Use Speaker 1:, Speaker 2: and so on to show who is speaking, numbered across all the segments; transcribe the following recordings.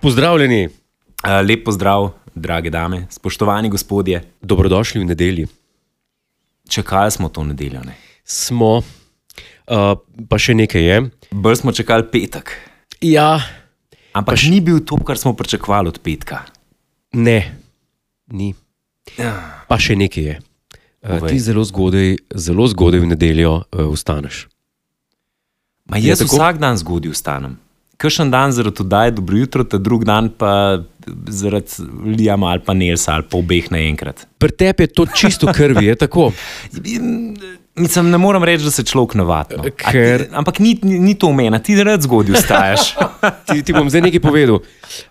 Speaker 1: Pozdravljeni,
Speaker 2: Eh, Lep pozdrav, drage dame, spoštovani gospodje.
Speaker 1: dobrodošli v nedelji.
Speaker 2: Čakali smo to nedeljo. Ne?
Speaker 1: Smo, uh, pa še nekaj je.
Speaker 2: Bolj smo čakali petek.
Speaker 1: Ja,
Speaker 2: Ampak še ni bil to, kar smo pričakovali od petka.
Speaker 1: ne, ni. Pa še nekaj je. Uh,
Speaker 2: Povej.
Speaker 1: ti zelo zgodaj, zelo zgodaj v nedeljo uh, vstaneš.
Speaker 2: Ma jaz
Speaker 1: Je tako?
Speaker 2: vsak dan zgodaj vstanem. Kršen dan zaradi oddaje dobro jutro, ta drug dan pa zaradi Lijama ali pa Nelsa ali pa obeh naenkrat.
Speaker 1: Pri tebi je to čisto v krvi, je tako.
Speaker 2: In, Mislim, ne morem reči, da se človek navadno. A ti-
Speaker 1: Ker-
Speaker 2: Ampak ni, ni ni to omena, ti rad zgodaj vstajaš.
Speaker 1: Ti, ti bom zdaj nekaj povedal.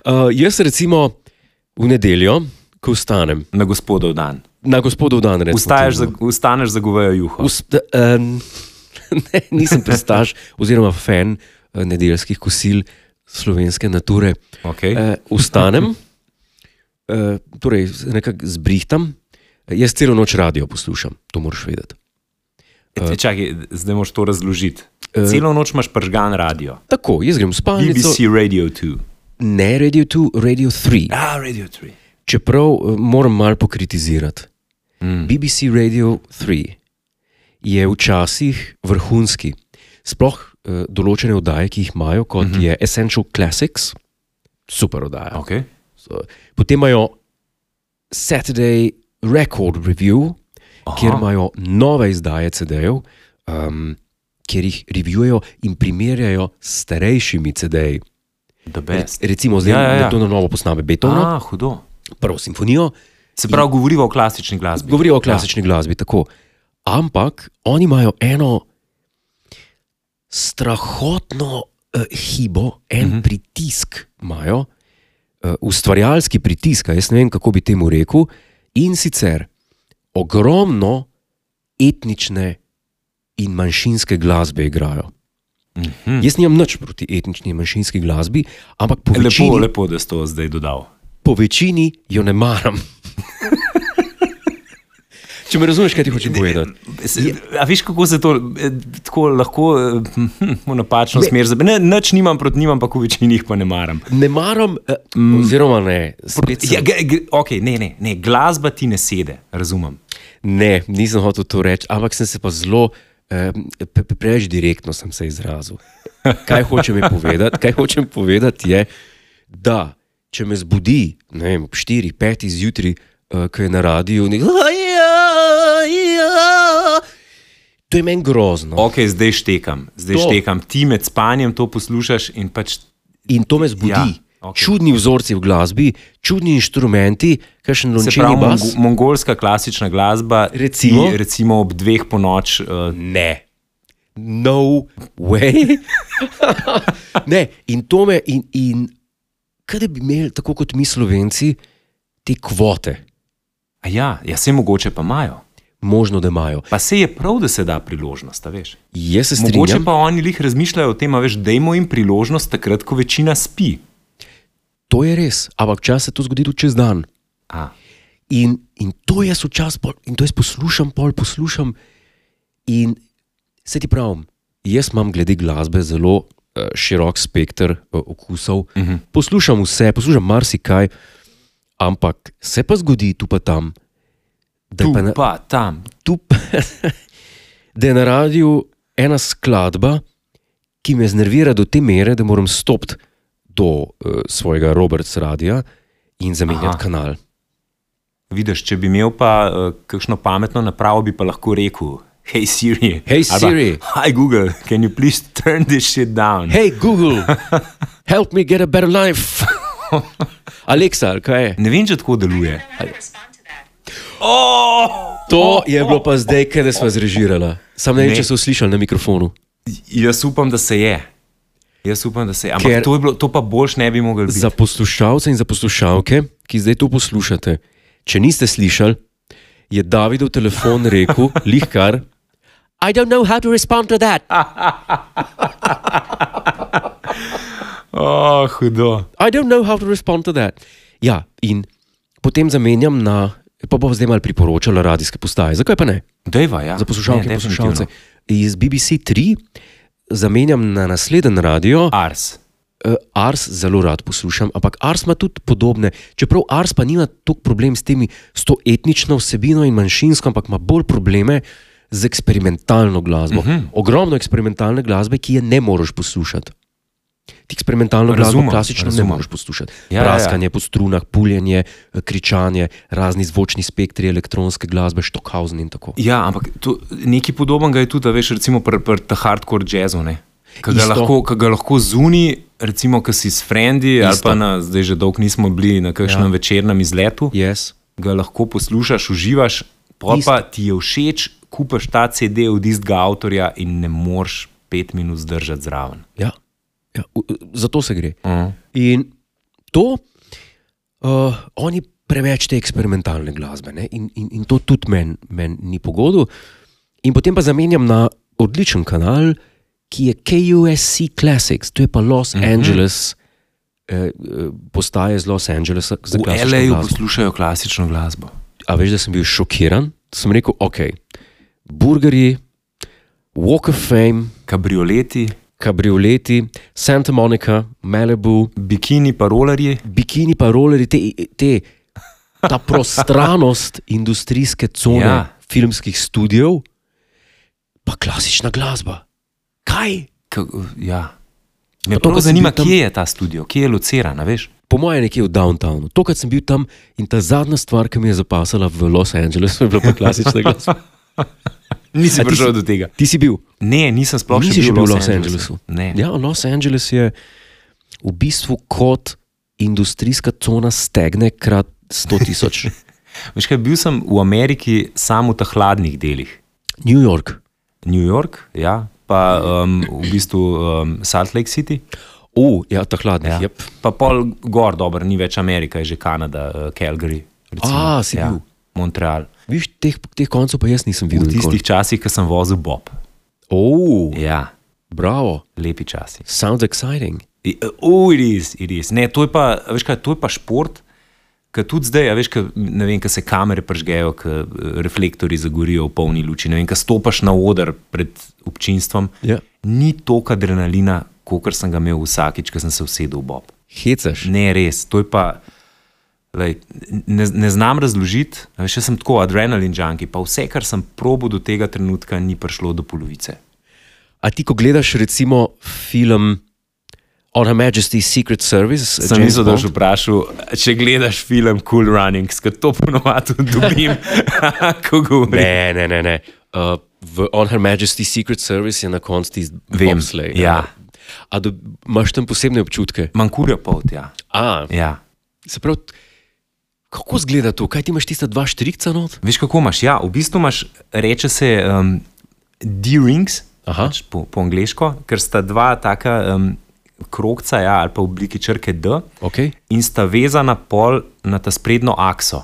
Speaker 1: Uh, jaz recimo v nedeljo, ko vstanem,
Speaker 2: Na gospodov dan.
Speaker 1: na gospodov dan rečem.
Speaker 2: Vstaješ za, vstaneš za govejo juho.
Speaker 1: Usp, um, ne, nisem pristaš oziroma fan eh, nedeljskih kosil slovenske nature.
Speaker 2: Okej.
Speaker 1: Eh, vstanem, uh, torej nekako zbrihtam. Jaz celo noč radio poslušam, to moraš vedeti.
Speaker 2: E, Čakaj, zdaj moš to razložiti.
Speaker 1: Eh.
Speaker 2: Celo noč imaš pržgan radio.
Speaker 1: Tako, jaz grem v spalnico,
Speaker 2: BBC Radio 2.
Speaker 1: ne radio 2, radio 3.
Speaker 2: Ah, Radio 3.
Speaker 1: Čeprav eh, moram malo pokritizirati.
Speaker 2: Mm.
Speaker 1: BBC Radio 3 je včasih vrhunski. Sploh uh, določene oddaje, ki jih imajo, kot
Speaker 2: Mhm.
Speaker 1: mm -hmm. je Essential Classics, super oddaja. Okay.
Speaker 2: Okay.
Speaker 1: Potem imajo Saturday Record Review, Aha. kjer imajo nove izdaje CD-jev, um, kjer jih revijujejo in primerjajo s starejšimi CD-ji.
Speaker 2: The best.
Speaker 1: Recimo, zdaj
Speaker 2: Ja, ja, ja.
Speaker 1: nekdo na novo posname Beethovena,
Speaker 2: Ah, hudo.
Speaker 1: prvo simfonijo,
Speaker 2: Se pravi, govoriva o klasični glasbi.
Speaker 1: Govorijo o klasični ja. glasbi, tako. Ampak oni imajo eno strahotno uh, hibo, en
Speaker 2: Mhm.
Speaker 1: uh -huh. pritisk imajo, uh, ustvarjalski pritisk, a jaz ne vem, kako bi temu rekel. In sicer ogromno etnične in manjšinske glasbe igrajo.
Speaker 2: Mhm.
Speaker 1: Jaz nimam nič proti etnični in manjšinski glasbi, ampak po
Speaker 2: Ja.
Speaker 1: večini,
Speaker 2: Lepo, lepo, da si to zdaj dodal.
Speaker 1: po večini jo ne maram. Če me razumeš, kaj ti hočem povedati.
Speaker 2: Se, a veš, kako se to eh, tako lahko eh, hm, v napačno smer zabe? Ne, nič nimam proti njim, ampak v večini jih pa ne maram.
Speaker 1: Ne maram, eh, oziroma ne, spet sem,
Speaker 2: Ja, ge- ge- okay, ne, ne, ne, glasba ti ne sede, razumem.
Speaker 1: ne, nisem hotel to reči, ampak sem se pa zelo, eh, pre- pre- preveč direktno sem se izrazil. Kaj hočem je povedati? Kaj hočem povedati je, da če me zbudi ne vem, ob 4, 5 zjutraj, eh, ko je na radiju, nek, to je meni grozno.
Speaker 2: Ok, zdaj štekam, zdaj
Speaker 1: To.
Speaker 2: to. štekam. Ti med spanjem to poslušaš in pač
Speaker 1: In to me zbudi.
Speaker 2: Ja,
Speaker 1: Ja, okay.
Speaker 2: okej.
Speaker 1: Čudni vzorci v glasbi, čudni inštrumenti, kakšen
Speaker 2: se
Speaker 1: lončini
Speaker 2: pravi,
Speaker 1: bas.
Speaker 2: mongo, mongolska klasična glasba,
Speaker 1: Recimo?
Speaker 2: ti, recimo ob dveh po noč. Uh,
Speaker 1: Ne. No way. ne, in to me, in, in kaj da bi imeli, tako kot mi slovenci, te kvote,
Speaker 2: a ja, ja, se mogoče pa imajo.
Speaker 1: možno da imajo.
Speaker 2: Pa se je prav, da se da priložnost, a veš.
Speaker 1: Jaz se
Speaker 2: Mogoče
Speaker 1: strinjam,
Speaker 2: pa oni lih razmišljajo o tem, a veš, dajmo jim priložnost takrat, ko večina spi.
Speaker 1: to je res, ampak čas se to zgodi tudi čez dan.
Speaker 2: A,
Speaker 1: In, in to jaz včasih pol, in to jaz poslušam, pol poslušam. In se ti pravim, jaz imam glede glasbe zelo uh, širok spekter uh, okusov. Uh -huh. Poslušam vse, poslušam marsikaj, ampak se pa zgodi tu pa tam, da, je
Speaker 2: tu
Speaker 1: pa na,
Speaker 2: pa tam.
Speaker 1: tu pa, da je na radiju ena skladba, ki me znervira do te mere, da moram stopiti do uh, svojega Roberts radia in zamenjati Aha.
Speaker 2: Aha.
Speaker 1: kanal.
Speaker 2: Vidiš, če bi imel pa uh, kakšno pametno napravo, bi pa lahko rekel: Hej Siri.
Speaker 1: Hey,
Speaker 2: ali pa,
Speaker 1: Siri.
Speaker 2: Hi Google, can you please turn this shit down?
Speaker 1: Hej, Google, help me get a better life. Aleksa, ali kaj je?
Speaker 2: Ne vem, če tako deluje.
Speaker 1: To je bilo pa zdaj, kaj smo zrežirali. Sam ne vem,
Speaker 2: Ne.
Speaker 1: če so slišali na mikrofonu.
Speaker 2: Jaz upam, da se je. Jaz upam, da se je. Ampak
Speaker 1: Ker-
Speaker 2: Ker... to, je bilo, to pa boljš ne bi mogel biti.
Speaker 1: Za poslušalce in za poslušalke, ki zdaj to poslušate, če niste slišali, je Davidov telefon rekel, lihkar. I don't know how to respond to that.
Speaker 2: Oh, hudo.
Speaker 1: I don't know how to respond to that. Ja, in potem zamenjam na, pa bo zdaj malo priporočala radijske postaje. Zakaj pa ne?
Speaker 2: Dejva, ja.
Speaker 1: za poslušalke in
Speaker 2: Ne, no. definitivno.
Speaker 1: poslušalce. Iz BBC 3 zamenjam na naslednji radio,
Speaker 2: Ars.
Speaker 1: eh, Ars zelo rad poslušam, ampak Ars ima tudi podobne. Čeprav Ars pa nima toliko problem s temi, s to etnično vsebino in manjšinsko, ampak ima bolj probleme z eksperimentalno glasbo. Uh -huh.
Speaker 2: Mhm.
Speaker 1: Ogromno eksperimentalne glasbe, ki je ne moreš poslušati. Ti eksperimentalno
Speaker 2: Razumem,
Speaker 1: glasbo klasično
Speaker 2: razumem.
Speaker 1: ne moreš poslušati.
Speaker 2: Ja, ja,
Speaker 1: Ja,
Speaker 2: ja.
Speaker 1: Praskanje ja. po strunah, puljenje, eh, kričanje, razni zvočni spektri elektronske glasbe, Stockhausen in tako.
Speaker 2: Ja, ampak to, nekaj podobnega je tudi, a veš, recimo pri pr, pr hardcore jazzu. Ki ga,
Speaker 1: Isto.
Speaker 2: lahko, ke ga lahko zuni, recimo, ki si s frendi, ali
Speaker 1: Isto.
Speaker 2: pa na, zdaj že dolgo nismo bili na kakšnem ja.
Speaker 1: Ja.
Speaker 2: večernem izletu,
Speaker 1: Yes.
Speaker 2: ga lahko poslušaš, uživaš, pol
Speaker 1: Isto.
Speaker 2: pa ti je všeč, kupaš ta CD od istega avtorja in ne moreš pet minut zdržati zraven.
Speaker 1: Ja. Ja. u- u- Za to se gre.
Speaker 2: Uh.
Speaker 1: In to, uh, oni preveč te eksperimentalne glasbe ne? in, in, in to tudi meni men ni pogodu. In potem pa zamenjam na odličen kanal, ki je KUSC Classics, to je pa Los mm -hmm. Angeles, eh, eh, postaje iz Los Angelesa. za
Speaker 2: V
Speaker 1: klasično
Speaker 2: L.A.ju
Speaker 1: glasbo.
Speaker 2: poslušajo klasično glasbo.
Speaker 1: A veš, da sem bil šokiran? Sem rekel, ok, burgerji, Walk of Fame,
Speaker 2: Kabrioleti,
Speaker 1: kabrioleti, Santa Monica, Malibu,
Speaker 2: bikini, pa rolerji.
Speaker 1: bikini, pa rolerji, te, te, ta prostranost industrijske cone,
Speaker 2: Ja.
Speaker 1: ja. filmskih studijev, pa klasična glasba. Kaj?
Speaker 2: K, ja. Me
Speaker 1: Pa No, to,
Speaker 2: prav
Speaker 1: ko sem
Speaker 2: zanima,
Speaker 1: bil tam-
Speaker 2: kje je ta studio, kje je locirana, veš?
Speaker 1: Po mojem, nekje v downtownu. Tokrat sem bil tam in ta zadnja stvar, ki mi je zapasala v Los Angelesu, je bila pa klasična glasba.
Speaker 2: Nisi
Speaker 1: A ti
Speaker 2: prišel
Speaker 1: si-
Speaker 2: do tega.
Speaker 1: Ti si bil?
Speaker 2: Ne, nisem sploh
Speaker 1: Nisi že
Speaker 2: še bil
Speaker 1: bil v Los Angelesu.
Speaker 2: Ne.
Speaker 1: Ja, Los Angeles je v bistvu kot industrijska cona stegne krat 100 tisoč.
Speaker 2: Veš kaj, bil sem v Ameriki samo v teh hladnih delih.
Speaker 1: New York.
Speaker 2: New York, ja, pa um, v bistvu um, Salt Lake City.
Speaker 1: U, ja, ta hladni.
Speaker 2: Ja.
Speaker 1: Ja. Yep.
Speaker 2: Pa pol gor, dobro, ni več Amerika, je že Kanada, uh, Calgary. Recimo. Ja.
Speaker 1: A, si bil.
Speaker 2: Montreal.
Speaker 1: Viš, teh, teh koncev pa jaz nisem
Speaker 2: V
Speaker 1: videl.
Speaker 2: tistih časih, ko sem vozil Bob.
Speaker 1: Oh,
Speaker 2: Ja,
Speaker 1: bravo,
Speaker 2: lepi časi. e,
Speaker 1: sounds exciting.
Speaker 2: Uf, res, res. Ne, to je pa, a veš kaj, to je pa šport, ki tudi zdaj, a veš, kaj, ne vem, kaj se kamere pržgejo, kaj reflektori zagorijo v polni luči, ne vem, kaj stopaš na oder pred občinstvom.
Speaker 1: Ja.
Speaker 2: Ni toliko adrenalina, kot sem ga imel vsakič, ko sem se usedel v Bob.
Speaker 1: Hecaš.
Speaker 2: Ne, res, to je pa. Lej, ne, ne znam razložiti, a veš, jaz sem tako adrenalin junkie, pa vse, kar sem probo do tega trenutka, ni prišlo do polovice.
Speaker 1: A ti, ko gledaš recimo film On Her Majesty's Secret Service,
Speaker 2: Sem
Speaker 1: James
Speaker 2: mislil, da
Speaker 1: Bond,
Speaker 2: boš vprašal, če gledaš film Cool Running, ki to ponovadi tudi dobim, ko govorim.
Speaker 1: Ne, ne, ne. ne. Uh, v On Her Majesty's Secret Service je na koncu tisti
Speaker 2: Vem,
Speaker 1: bobsleigh,
Speaker 2: ja.
Speaker 1: ne. A do, imaš tam posebne občutke?
Speaker 2: Manj kurja pot, ja.
Speaker 1: A,
Speaker 2: ja.
Speaker 1: se pravi, kako izgleda to? Kaj ti imaš tista dva štrikca not?
Speaker 2: Veš, kako imaš? Ja, v bistvu imaš, reče se um, D-rings,
Speaker 1: Aha.
Speaker 2: pač po, po angliško, ker sta dva taka um, krogca, ja, ali pa v obliki črke D,
Speaker 1: Okay.
Speaker 2: in sta vezana pol na ta sprednjo akso.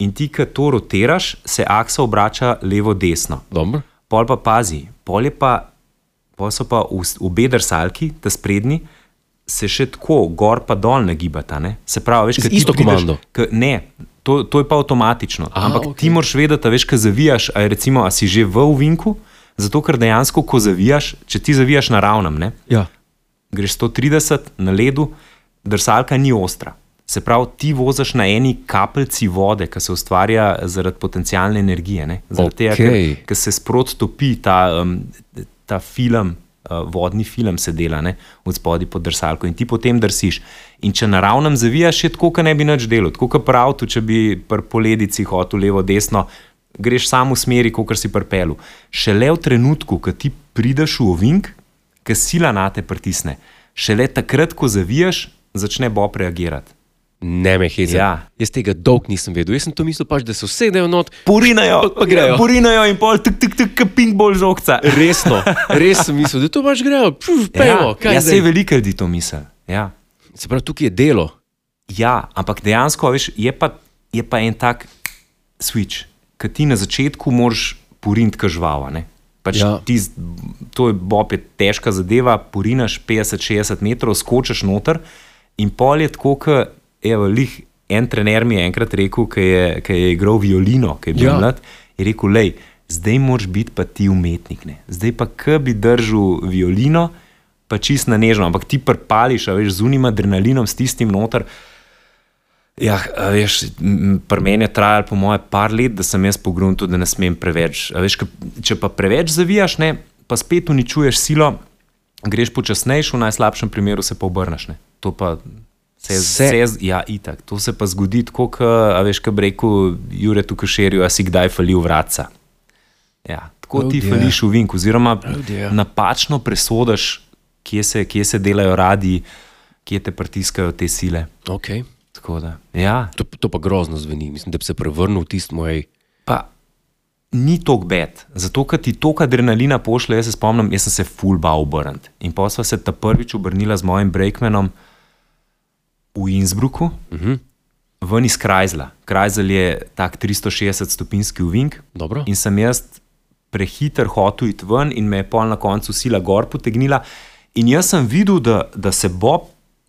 Speaker 2: In ti, ki to rotiraš, se aksa obrača levo-desno.
Speaker 1: Dobro.
Speaker 2: Pol pa pazi, pol je pa, pol so pa v, obe drsalki, ta sprednji, se še tako gor pa dol nagibata. Ne? Se pravi, veš,
Speaker 1: Z
Speaker 2: ke ti
Speaker 1: isto
Speaker 2: prideš-
Speaker 1: komando?
Speaker 2: K, ne, to, to je pa avtomatično. A,
Speaker 1: A,
Speaker 2: Ampak okay.
Speaker 1: okej.
Speaker 2: ti moraš vedeti, a veš, kaj zavijaš, a, je recimo, a si že v ovinku, zato ker dejansko, ko zavijaš, če ti zavijaš na ravnem, ne,
Speaker 1: Ja.
Speaker 2: greš 130 na ledu, drsalka ni ostra. Se pravi, ti voziš na eni kapljici vode, ki se ustvarja zaradi potencijalne energije. ne. Zaradi tega,
Speaker 1: Okej.
Speaker 2: ker- ker se sproti topi ta, um, ta film, uh, vodni film se dela ne, od spodaj pod drsalko in ti potem drsiš. In če naravnem zavijaš, je tako, kot ne bi nič delal, tako kot prav, če bi pri poledici hotel levo, desno, greš samo v smeri, kot si prpelu. Šele v trenutku, ko ti prideš v ovink, ki sila na te pritisne, šele takrat, ko zavijaš, začne Bob reagirati.
Speaker 1: Ne me hezi.
Speaker 2: Ja.
Speaker 1: Jaz tega dolg nisem vedel. Jaz sem to mislil, pač, da se usedejo not.
Speaker 2: Porinajo,
Speaker 1: Pa- pa grejo.
Speaker 2: porinajo Ja, in pol, tik, tik, tik, ping bol žogca.
Speaker 1: Resno, res sem mislil, da to pač grejo. Puf, pejmo, kaj
Speaker 2: ja, se
Speaker 1: zdaj?
Speaker 2: je veliko ljudi to misli. Ja.
Speaker 1: Se pravi, tukaj je delo.
Speaker 2: ja, ampak dejansko a veš, je, pa, je pa en tak switch, ki ti na začetku moraš porint kažvava. ne. Pač ja.
Speaker 1: Ja.
Speaker 2: ti, z- to je bob, je težka zadeva, porinaš 50-60 metrov, skočiš noter in pol je tako, kot evo, lih. En trener mi je enkrat rekel, ki je, ki je igral violino, ki je bil ja.
Speaker 1: Ja.
Speaker 2: mlad, je rekel, lej, zdaj moraš biti pa ti umetnik. Ne? Zdaj pa, ki bi držal violino, pa čist na nežno, ampak ti prpališ, a veš, z unim adrenalinom, s tistim noter. Ja, a veš, m, pri meni je trajalo, po moje, par let, da sem jaz pogrunil, da ne smem preveč. A Veš, ke- če pa preveč zavijaš, ne, pa spet uničuješ silo, greš počasnejši, v najslabšem primeru se pa obrneš. Ne. To pa se,
Speaker 1: Se-
Speaker 2: se. se z- ja, itak, to se pa zgodi, tako kot, a veš, kaj bi rekel Jure Tukašerju, a si kdaj falil vraca. Ja, tako
Speaker 1: Oh,
Speaker 2: oh, ti
Speaker 1: dear.
Speaker 2: fališ v vink, oziroma oh,
Speaker 1: dear.
Speaker 2: napačno presodiš, kje se, kje se delajo radi, kje te pritiskajo te sile.
Speaker 1: Okay.
Speaker 2: Tako da, ja,
Speaker 1: To, to pa grozno zveni. Mislim, da bi se prevrnil v tisti moj.
Speaker 2: pa ni tako bed. Zato, ker ti to adrenalina pošlje, jaz se spomnim, jaz sem se full bal obrniti. In pa sva se ta prvič obrnila z mojim breakmenom v Innsbrucku, uh -huh. ven iz Krajzla. Krajzel je tak 360-stopinski uvink.
Speaker 1: Dobro.
Speaker 2: In sem jaz prehiter hotel iti ven, in me je pol na koncu sila gor potegnila. In jaz sem videl, da, da se Bob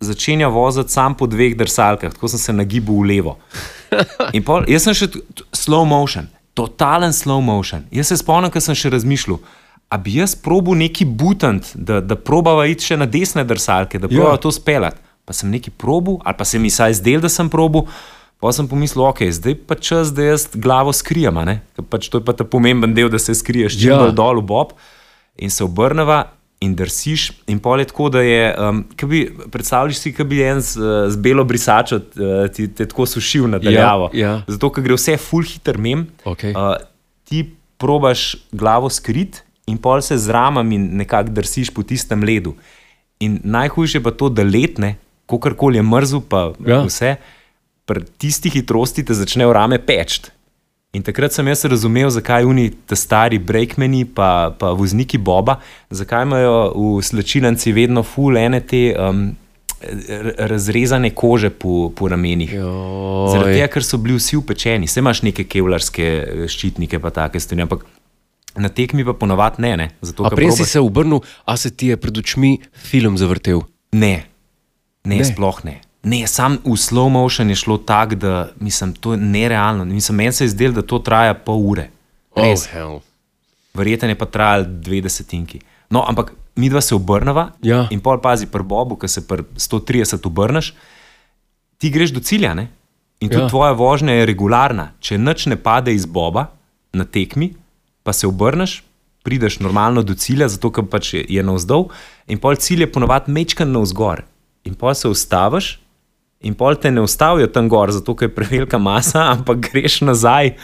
Speaker 2: začenja voziti sam po dveh drsalkah, tako sem se nagibal v levo. In pol, jaz sem še t- t- slow motion, totalen slow motion. Jaz se spomnim, ker sem še razmišljal. A bi jaz probil neki butant, da, da probava iti še na desne drsalke, da probava to speljati. Pa sem neki probil, ali pa se mi vsaj zdel, da sem probil. Pa sem pomislil, ok, zdaj pa čas, da jaz glavo skrijem, a ne? Ker pač to je pa ta pomemben del, da se skriješ čim
Speaker 1: Ja.
Speaker 2: bolj dol v bob. In se obrneva in drsiš, in pol je tako, da je, um, bi, predstavljaš si, da bi en z, eh, z belo brisačo eh, ti, te tako sušil na daljavo.
Speaker 1: ja.
Speaker 2: Zato, ker gre vse full hitter mem,
Speaker 1: Okej.
Speaker 2: uh, ti probaš glavo skriti in pol se z ramami nekako drsiš po tistem ledu. In najhujše je pa to, da letne, kako koli je mrzl, pa
Speaker 1: Ja.
Speaker 2: ja. vse, pri tisti hitrosti te začnejo rame peč. In takrat sem jaz razumel, zakaj oni, ta stari breakmeni, pa, pa vozniki Boba, zakaj imajo v slačilanci vedno full ene te um, r- razrezane kože po, po ramenih.
Speaker 1: Ja.
Speaker 2: Zaradi tega, ker so bili vsi upečeni, vse imaš neke kevlarske eh, ščitnike, pa take stvari, ampak na tekmi pa ponovadi ne. ne. Zato,
Speaker 1: A
Speaker 2: ker
Speaker 1: prej si
Speaker 2: probaš-
Speaker 1: se obrnil, a se ti je pred očmi film zavrtel.
Speaker 2: Ne, ne,
Speaker 1: Ne.
Speaker 2: ne. sploh ne. Ne, sam v slow motion je šlo tako, da mislim, to je nerealno. Mislim, meni se je zdelo, da to traja pol ure. Res.
Speaker 1: Oh, hell.
Speaker 2: Verjetno je pa trajal dve desetinki. No, ampak mi dva se obrnava
Speaker 1: Ja.
Speaker 2: in pol pazi pri Bobu, ki se pri 130 obrneš, ti greš do cilja. Ne? In tudi
Speaker 1: Ja.
Speaker 2: ja. tvoja vožnja je regularna. Če nič ne pade iz Boba na tekmi, pa se obrneš, prideš normalno do cilja, zato ker pač je, je navzdol, in pol cilj je ponovadi mečkan navzgor. In pol se ustaviš, in pol te ne ustavijo tam gor, zato ker je prevelika masa, ampak greš nazaj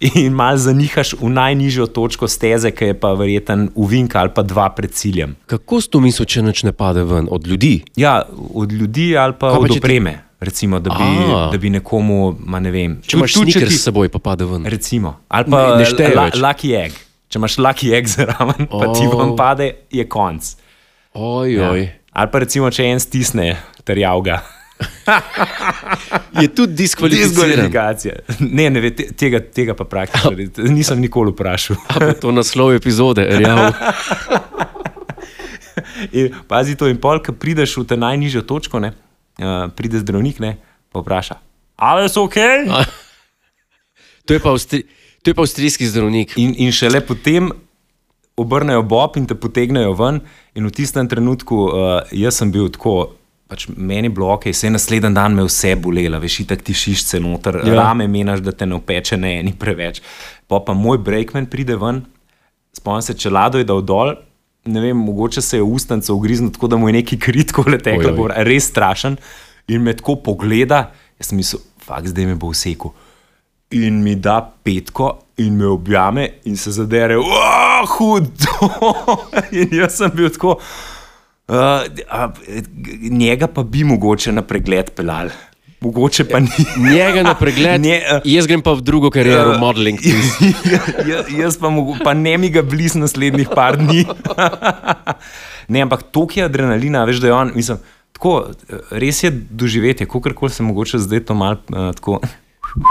Speaker 2: in malo zanihaš v najnižjo točko steze, ki je pa verjeten uvinka ali pa dva pred ciljem.
Speaker 1: Kako si to mislil, če nič ne pade ven od ljudi?
Speaker 2: Ja, od ljudi ali pa,
Speaker 1: Kaj
Speaker 2: pa
Speaker 1: pa,
Speaker 2: od
Speaker 1: če ti-
Speaker 2: opreme, ti... recimo, da bi,
Speaker 1: A.
Speaker 2: da bi nekomu, ma ne vem,
Speaker 1: Če imaš
Speaker 2: tudi,
Speaker 1: sniker s seboj, pa pade ven.
Speaker 2: recimo, ali pa
Speaker 1: Ne- ne šteje več.
Speaker 2: lucky egg. Če imaš lucky egg zraven, pa ti
Speaker 1: Oh.
Speaker 2: vam pade, je konc.
Speaker 1: Ojoj. Ja.
Speaker 2: Ali pa recimo, če en stisne, terjav ga. Ja.
Speaker 1: Je tudi diskvalificiran.
Speaker 2: Diskvalifikacija. Ne, ne, ve, te- tega, tega pa praktično res nisem nikoli vprašal.
Speaker 1: A bo to naslov epizode, real.
Speaker 2: In, pazi to, in pol, ki prideš v te najnižjo točko, ne, uh, pride zdravnik, ne, pa vpraša. Ali so ok?
Speaker 1: To je pa, avstri... to je pa avstrijski zdravnik.
Speaker 2: In, in šele potem obrnejo bob in te potegnejo ven. In v tistem trenutku uh, jaz sem bil tako. Pač meni bloke, vse naslednji dan me vse bolela, veš, tako ti šišče noter,
Speaker 1: Ja.
Speaker 2: ja. rame menaš, da te ne opeče, ne eni preveč. Pa pa moj breakman pride ven, spomnim se, če lado je dal dol, ne vem, mogoče se je ustanca ugriznil tako, da mu je neki kritko
Speaker 1: Ojoj.
Speaker 2: leteklo, res strašen. In me tako pogleda, jaz sem mislil, fakt zdaj me bo vsekel in mi da petko, in me objame, in se zadere, "Uah, hudo. in jaz sem bil tako. Uh, a, g- njega pa bi mogoče na pregled pelal, mogoče pa ni.
Speaker 1: Njega na pregled.
Speaker 2: Ne, eh.
Speaker 1: Jaz grem pa v drugo kariero, uh, modeling.
Speaker 2: Ja, jaz pa, mogo, pa ne mi ga bliz naslednjih par dni. ne, ampak toliko je adrenalina, veš, da je on, mislim, tako, eh, res je doživetje, kako koli se mogoče zdaj to malo uh, tako.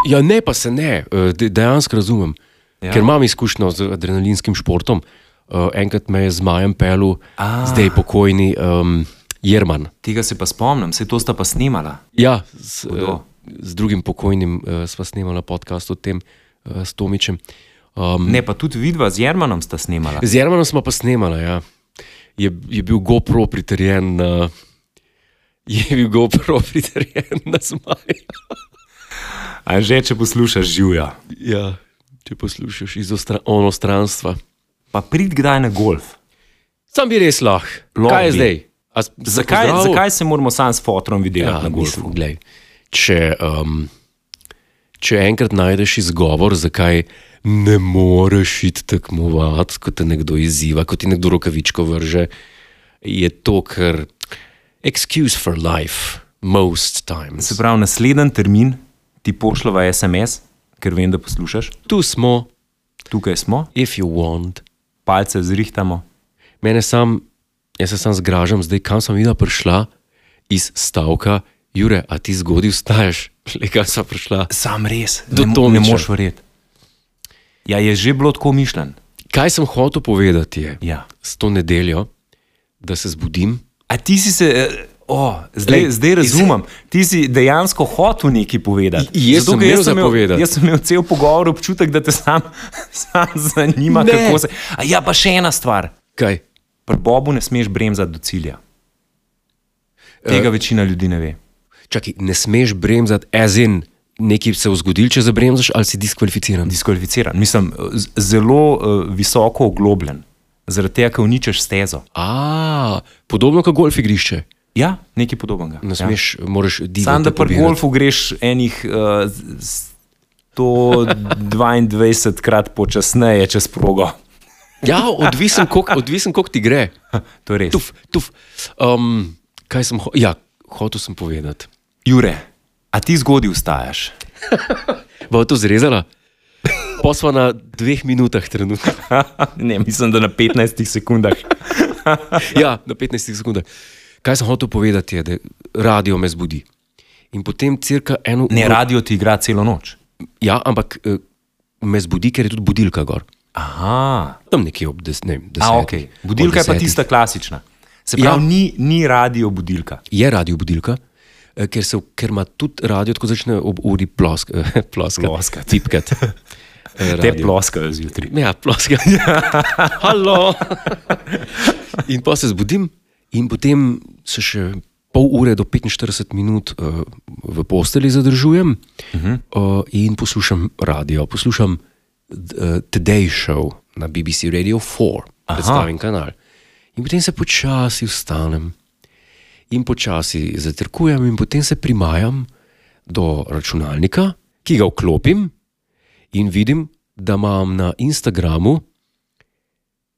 Speaker 1: Ja, ne, pa se ne, eh, de- dejansko razumem. Ja.
Speaker 2: Ja.
Speaker 1: Ker imam izkušnjo z adrenalinskim športom. Uh, enkrat me je z Majem pelil,
Speaker 2: A.
Speaker 1: zdaj pokojni um, Jerman.
Speaker 2: Tega se pa spomnim, se to sta pa snimala.
Speaker 1: Ja, z,
Speaker 2: Hudo.
Speaker 1: eh, z drugim pokojnim uh, sva snemala podcast o tem, uh, s Tomičem. Um,
Speaker 2: Ne, pa tudi vidva z Jermanom sta snimala.
Speaker 1: z Jermanom smo pa snemala. Ja. je, je bil GoPro pritrjen na. Je bil GoPro pritrjen na zmaj.
Speaker 2: A že če poslušaš, živja.
Speaker 1: Ja, če poslušaš iz ostra, onostranstva.
Speaker 2: Pa prid kdaj na golf.
Speaker 1: Sam bi res lahko.
Speaker 2: Lahko
Speaker 1: Kaj je
Speaker 2: bi.
Speaker 1: zdaj? A, s-
Speaker 2: Zakaj,
Speaker 1: pozdrav?
Speaker 2: zakaj se moramo sam s fotom videti ja,
Speaker 1: Ja,
Speaker 2: na golfu?
Speaker 1: mislim, glej, če, um, če enkrat najdeš izgovor, zakaj ne moreš iti tekmovati, ko te nekdo izziva, ko ti nekdo rokavičko vrže, je to kar excuse for life. Most times.
Speaker 2: Se pravi, naslednji termin ti pošljeva SMS, ker vem, da poslušaš.
Speaker 1: Tu smo,
Speaker 2: Tukaj smo,
Speaker 1: if you want.
Speaker 2: palce zrihtamo.
Speaker 1: Mene sam, jaz se sam zgražam, zdaj kam sem videla prišla iz stavka, Jure, a ti zgodil staješ, le kam sem prišla.
Speaker 2: Sam res,
Speaker 1: Do
Speaker 2: ne, mo- ne
Speaker 1: Tomiča.
Speaker 2: moš verjeti. Ja, je že bilo tako mišljen.
Speaker 1: Kaj sem hotel povedati je,
Speaker 2: Ja.
Speaker 1: s to nedeljo, da se zbudim.
Speaker 2: A ti si se, eh, o, zdaj,
Speaker 1: Lej,
Speaker 2: Lej, zdaj razumem, ti si dejansko hotel nekaj povedati.
Speaker 1: I- jaz sem
Speaker 2: ker
Speaker 1: imel za povedati.
Speaker 2: Jaz sem imel cel pogovor občutek, da te sam, sam zanima,
Speaker 1: Ne.
Speaker 2: ne. kako se. A ja, pa še ena stvar.
Speaker 1: Kaj?
Speaker 2: Pri Bobu ne smeš bremzati do cilja.
Speaker 1: Eh,
Speaker 2: Tega večina ljudi ne ve.
Speaker 1: Čakaj, ne smeš bremzati, ezen, nekaj se je zgodil, če zabremzaš, ali si diskvalificiran.
Speaker 2: Diskvalificiran, mislim, z- zelo uh, visoko oglobljen, zaradi tega, ker uničiš stezo.
Speaker 1: A, podobno kot golf igrišče.
Speaker 2: Ja, nekaj podobnega.
Speaker 1: Ne smeš, ja. moraš divjati.
Speaker 2: Sam da pri golfu greš enih uh, 122 krat počasneje čez progo.
Speaker 1: Ja, odvisen, koliko odvisen, koliko ti gre.
Speaker 2: To je res.
Speaker 1: Tuf, tuf. Um, kaj sem hotel? Ja, hotel sem povedati.
Speaker 2: Jure, a ti zgodi vstajaš?
Speaker 1: Bo to zrezala? Posla na dveh minutah trenutno.
Speaker 2: ne, mislim, da na 15 sekundah.
Speaker 1: Ja, na 15 sekundah. Kaj sem hotel povedati, je, da radio me zbudi. In potem cirka eno
Speaker 2: Ne,
Speaker 1: uro.
Speaker 2: radio ti igra celo noč.
Speaker 1: Ja, ampak eh, me zbudi, ker je tudi budilka gor.
Speaker 2: Aha.
Speaker 1: Tam nekje ob des- ne vem, desetih.
Speaker 2: A, okay.
Speaker 1: Ob
Speaker 2: Budilka je pa
Speaker 1: desetih.
Speaker 2: tista klasična. Se
Speaker 1: Ja.
Speaker 2: pravi, ja. ni, ni radio budilka.
Speaker 1: Je radio budilka, eh, ker, se, ker ima tudi radio, tako začne ob uri plosk, eh, ploskati.
Speaker 2: Ploskat.
Speaker 1: Tipkat. Eh,
Speaker 2: Te
Speaker 1: radio.
Speaker 2: ploskajo zjutraj.
Speaker 1: Ja, ploska. Halo. In pa se zbudim, in potem se še pol ure do 45 minut uh, v posteli zadržujem uh -huh. uh, in poslušam radio. Poslušam uh, Today Show na BBC Radio 4, predstavljen kanal. In potem se počasi vstanem in počasi zatrkujem, in potem se primajam do računalnika, ki ga vklopim in vidim, da imam na Instagramu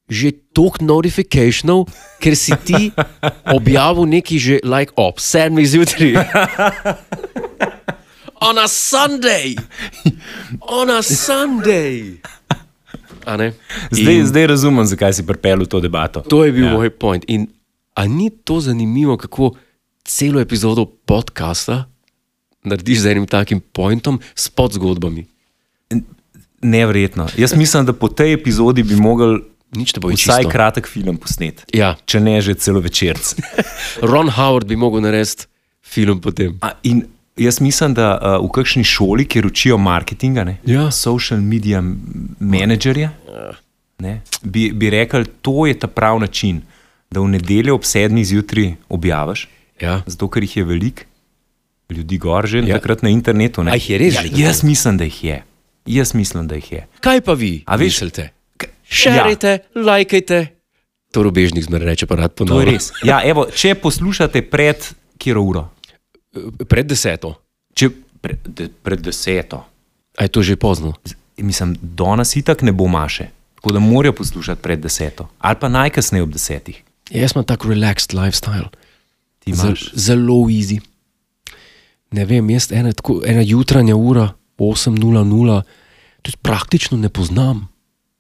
Speaker 1: že toliko notifikacijov, ker si ti objavil nekaj že like ob sedmih zjutraj. On a Sunday, on a Sunday. A ne?
Speaker 2: Zdaj, in... zdaj razumem, zakaj si pripeljal to debato.
Speaker 1: To je bil ja. moj point. In a ni to zanimivo, kako celo epizodo podcasta narediš z enim takim pointom, s podzgodbami.
Speaker 2: Neverjetno. Jaz mislim, da po tej epizodi bi mogel
Speaker 1: Nič te bo
Speaker 2: vsaj
Speaker 1: izčistil.
Speaker 2: kratek film posneti.
Speaker 1: Ja.
Speaker 2: Če ne že celo večerc.
Speaker 1: Ron Howard bi mogel narediti film potem.
Speaker 2: A, in jaz mislim, da uh, v kakšni šoli, kjer učijo marketinga, ne,
Speaker 1: Ja.
Speaker 2: social media m- menedžerje, ne, bi, bi rekel, to je ta prav način, da v nedeljo ob sedmih zjutraj objaviš,
Speaker 1: Ja.
Speaker 2: zato ker jih je veliko, ljudi gor že
Speaker 1: Ja.
Speaker 2: ja. takrat na internetu. ne.
Speaker 1: A jih je res
Speaker 2: Ja,
Speaker 1: že tako?
Speaker 2: jaz mislim, da jih je. Jaz mislim, da jih je.
Speaker 1: Kaj pa vi?
Speaker 2: A veš-
Speaker 1: mislite?
Speaker 2: K-
Speaker 1: Šerite, ja. lajkajte. To robežnik zmeraj reče, pa rad
Speaker 2: Ja, to je
Speaker 1: ponovim.
Speaker 2: res. Ja, evo, če poslušate pred kjer uro,
Speaker 1: Pred deseto.
Speaker 2: če, pre, de, pred deseto,
Speaker 1: A je to že pozno?
Speaker 2: mislim, danes itak ne bo maše. Tako da morajo poslušati pred deseto, ali pa najkasneje ob desetih.
Speaker 1: Jaz imam tako relaxed lifestyle.
Speaker 2: Ti
Speaker 1: Zel,
Speaker 2: imaš-
Speaker 1: zelo easy. Ne vem, jaz ena, tako, ena jutranja ura, 8.00, tudi praktično ne poznam.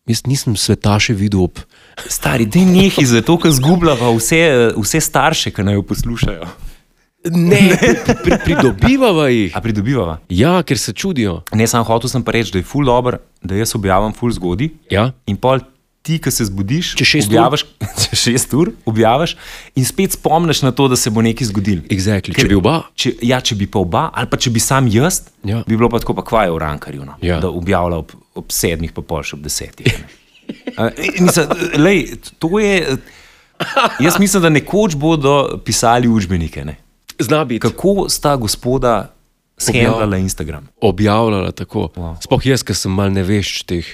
Speaker 1: Jaz nisem sveta še videl ob.
Speaker 2: Stari, da nehi, zato ker zgubljava vse, vse starše, ki naj jo poslušajo.
Speaker 1: Ne, pri, pri, pridobivava jih.
Speaker 2: A pridobivava.
Speaker 1: Ja, ker se čudijo.
Speaker 2: Ne, sam hotel sem pa reči, da je ful dobro, da jaz objavim ful zgodi.
Speaker 1: Ja.
Speaker 2: In pol ti, ki se zbudiš,
Speaker 1: Čez šest ur?
Speaker 2: objaviš, če šest ur objaviš, in spet spomniš na to, da se bo nekaj zgodil.
Speaker 1: Exactly. Če bi oba.
Speaker 2: Če, ja, če bi pa oba, ali pa če bi sam jaz,
Speaker 1: Ja.
Speaker 2: ja. bi bilo pa tako, pa kva je v rankarju, no?
Speaker 1: Ja.
Speaker 2: da objavlja ob, ob sedmih, pa pol še ob desetih. a ne. A, in Mislim, lej, to je. Jaz mislim, da nekoč bodo pisali učbenike. Ne?
Speaker 1: Zna biti.
Speaker 2: Kako sta gospoda shendlala Instagram?
Speaker 1: Objavljala tako.
Speaker 2: Wow.
Speaker 1: Wow. Sploh jaz, ki sem mal nevešč teh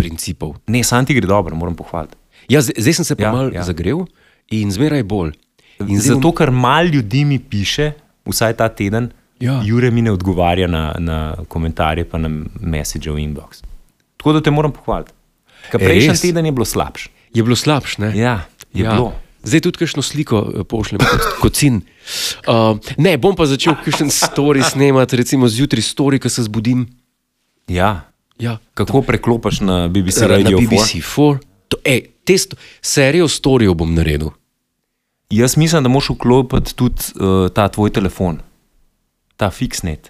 Speaker 1: principov.
Speaker 2: Ne, Santi gre dobro, moram pohvaliti.
Speaker 1: Ja, z- zdaj sem se pa
Speaker 2: Ja,
Speaker 1: ja, mal
Speaker 2: ja.
Speaker 1: ja. zagrel in zmeraj bolj. In zdaj
Speaker 2: Zato, ker malo ljudi mi piše, vsaj ta teden, ja.
Speaker 1: Ja.
Speaker 2: Jure mi ne odgovarja na, na komentarje, pa na message v inbox. Tako da te moram pohvaliti. Ker
Speaker 1: E,
Speaker 2: Prejšnji
Speaker 1: res?
Speaker 2: teden je bilo slabše.
Speaker 1: bom- je bilo slabš, ne?
Speaker 2: Ja, je ja. bilo.
Speaker 1: Zdaj tudi kakšno sliko eh, pošljem kot, kot sin. Uh, ne, bom pa začel kakšen story snemati, recimo zjutraj story, ko se zbudim.
Speaker 2: Ja.
Speaker 1: Ja,
Speaker 2: Kako preklopiš na BBC
Speaker 1: na
Speaker 2: Radio 4?
Speaker 1: BBC4. To, ej, te sto, serijo storijo bom naredil.
Speaker 2: Jaz mislim, da moš vklopiti tudi uh, ta tvoj telefon, ta fiksnet.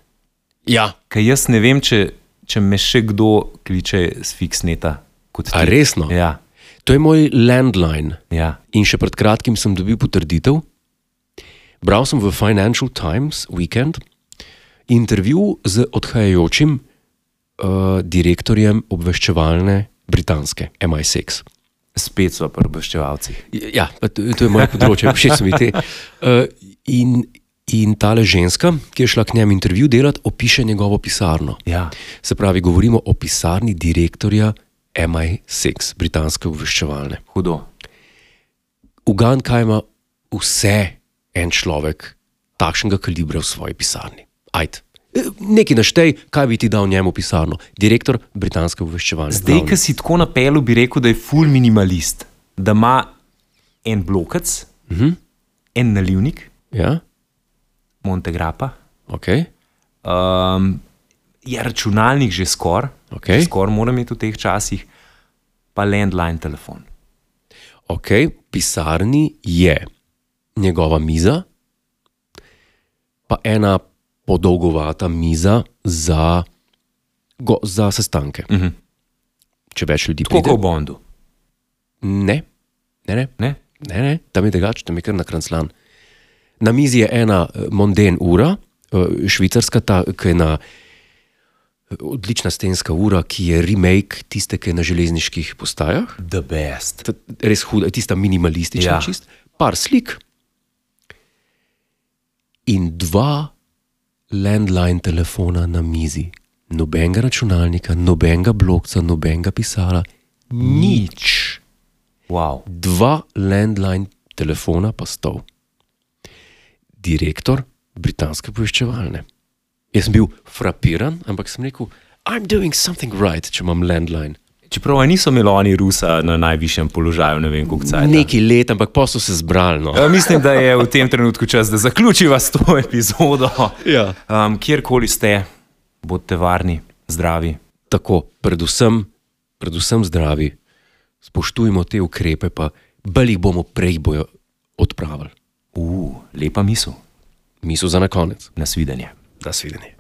Speaker 1: Ja.
Speaker 2: Ker jaz ne vem, če, če me še kdo kliče z fiksneta. kot
Speaker 1: A
Speaker 2: ti.
Speaker 1: resno?
Speaker 2: Ja,
Speaker 1: To je moj landline.
Speaker 2: ja.
Speaker 1: In še pred kratkim sem dobil potrditev. Bral sem v Financial Times Weekend intervju z odhajajočim uh, direktorjem obveščevalne britanske MI6.
Speaker 2: spet so pri obveščevalcih.
Speaker 1: Ja, pa to, to je moje področje, všeč so mi te. Uh, in, in tale ženska, ki je šla k njemu intervju delati, opiše njegovo pisarno.
Speaker 2: Ja.
Speaker 1: Se pravi, govorimo o pisarni direktorja MI6, britanske obveščevalne.
Speaker 2: Hudo.
Speaker 1: Uganka ima vse en človek takšnega kalibra v svoji pisarni. Ajd. Eh, Nekaj naštej, kaj bi ti dal njemu v pisarno. Direktor britanske obveščevalne.
Speaker 2: Zdaj,
Speaker 1: glavni.
Speaker 2: ki si tako napeljal, bi rekel, da je full minimalist, da ima en blokec, uh -huh. en nalivnik,
Speaker 1: Ja,
Speaker 2: Montegrapa,
Speaker 1: ok.
Speaker 2: um, je računalnik že skoraj,
Speaker 1: Okej.
Speaker 2: že skoraj moram imeti v teh časih, pa landline telefon.
Speaker 1: Ok, pisarni je njegova miza, pa ena podolgovata miza za, go, za sestanke.
Speaker 2: Mhm.
Speaker 1: Če več ljudi
Speaker 2: Tako kot
Speaker 1: pride.
Speaker 2: v Bondu.
Speaker 1: Ne, ne, ne,
Speaker 2: Ne?
Speaker 1: ne, ne, tam je drugače, tam je kar nakranclan. Na mizi je ena eh, monden ura, eh, švicarska, ta, ki je na eh, odlična stenska ura, ki je remake tiste, ki je na železniških postajah.
Speaker 2: The best.
Speaker 1: Ta- res huda, tista minimalistična,
Speaker 2: Ja.
Speaker 1: ja. čist, par slik in dva landline telefona na mizi. Nobenega računalnika, nobenega blokca, nobenega pisala, nič.
Speaker 2: Wow.
Speaker 1: Dva landline telefona pa stov. Direktor britanske poiščevalne. Jaz sem bil frapiran, ampak sem rekel, I'm doing something right, če imam landline.
Speaker 2: Čeprav niso imeli oni Rusa na najvišjem položaju, ne vem, kako caj.
Speaker 1: Nekaj let, ampak pa so se zbrali. No.
Speaker 2: Eh, Mislim, da je v tem trenutku čas, da zaključiva s to epizodo.
Speaker 1: Ja.
Speaker 2: Um, kjerkoli ste, bodite varni, zdravi.
Speaker 1: Tako, predvsem, predvsem zdravi, spoštujmo te ukrepe, pa bolj jih bomo prej bojo odpravili.
Speaker 2: Uh, lepa misel,
Speaker 1: Misel za na konec.
Speaker 2: nasvidenje.
Speaker 1: Nasvidenje.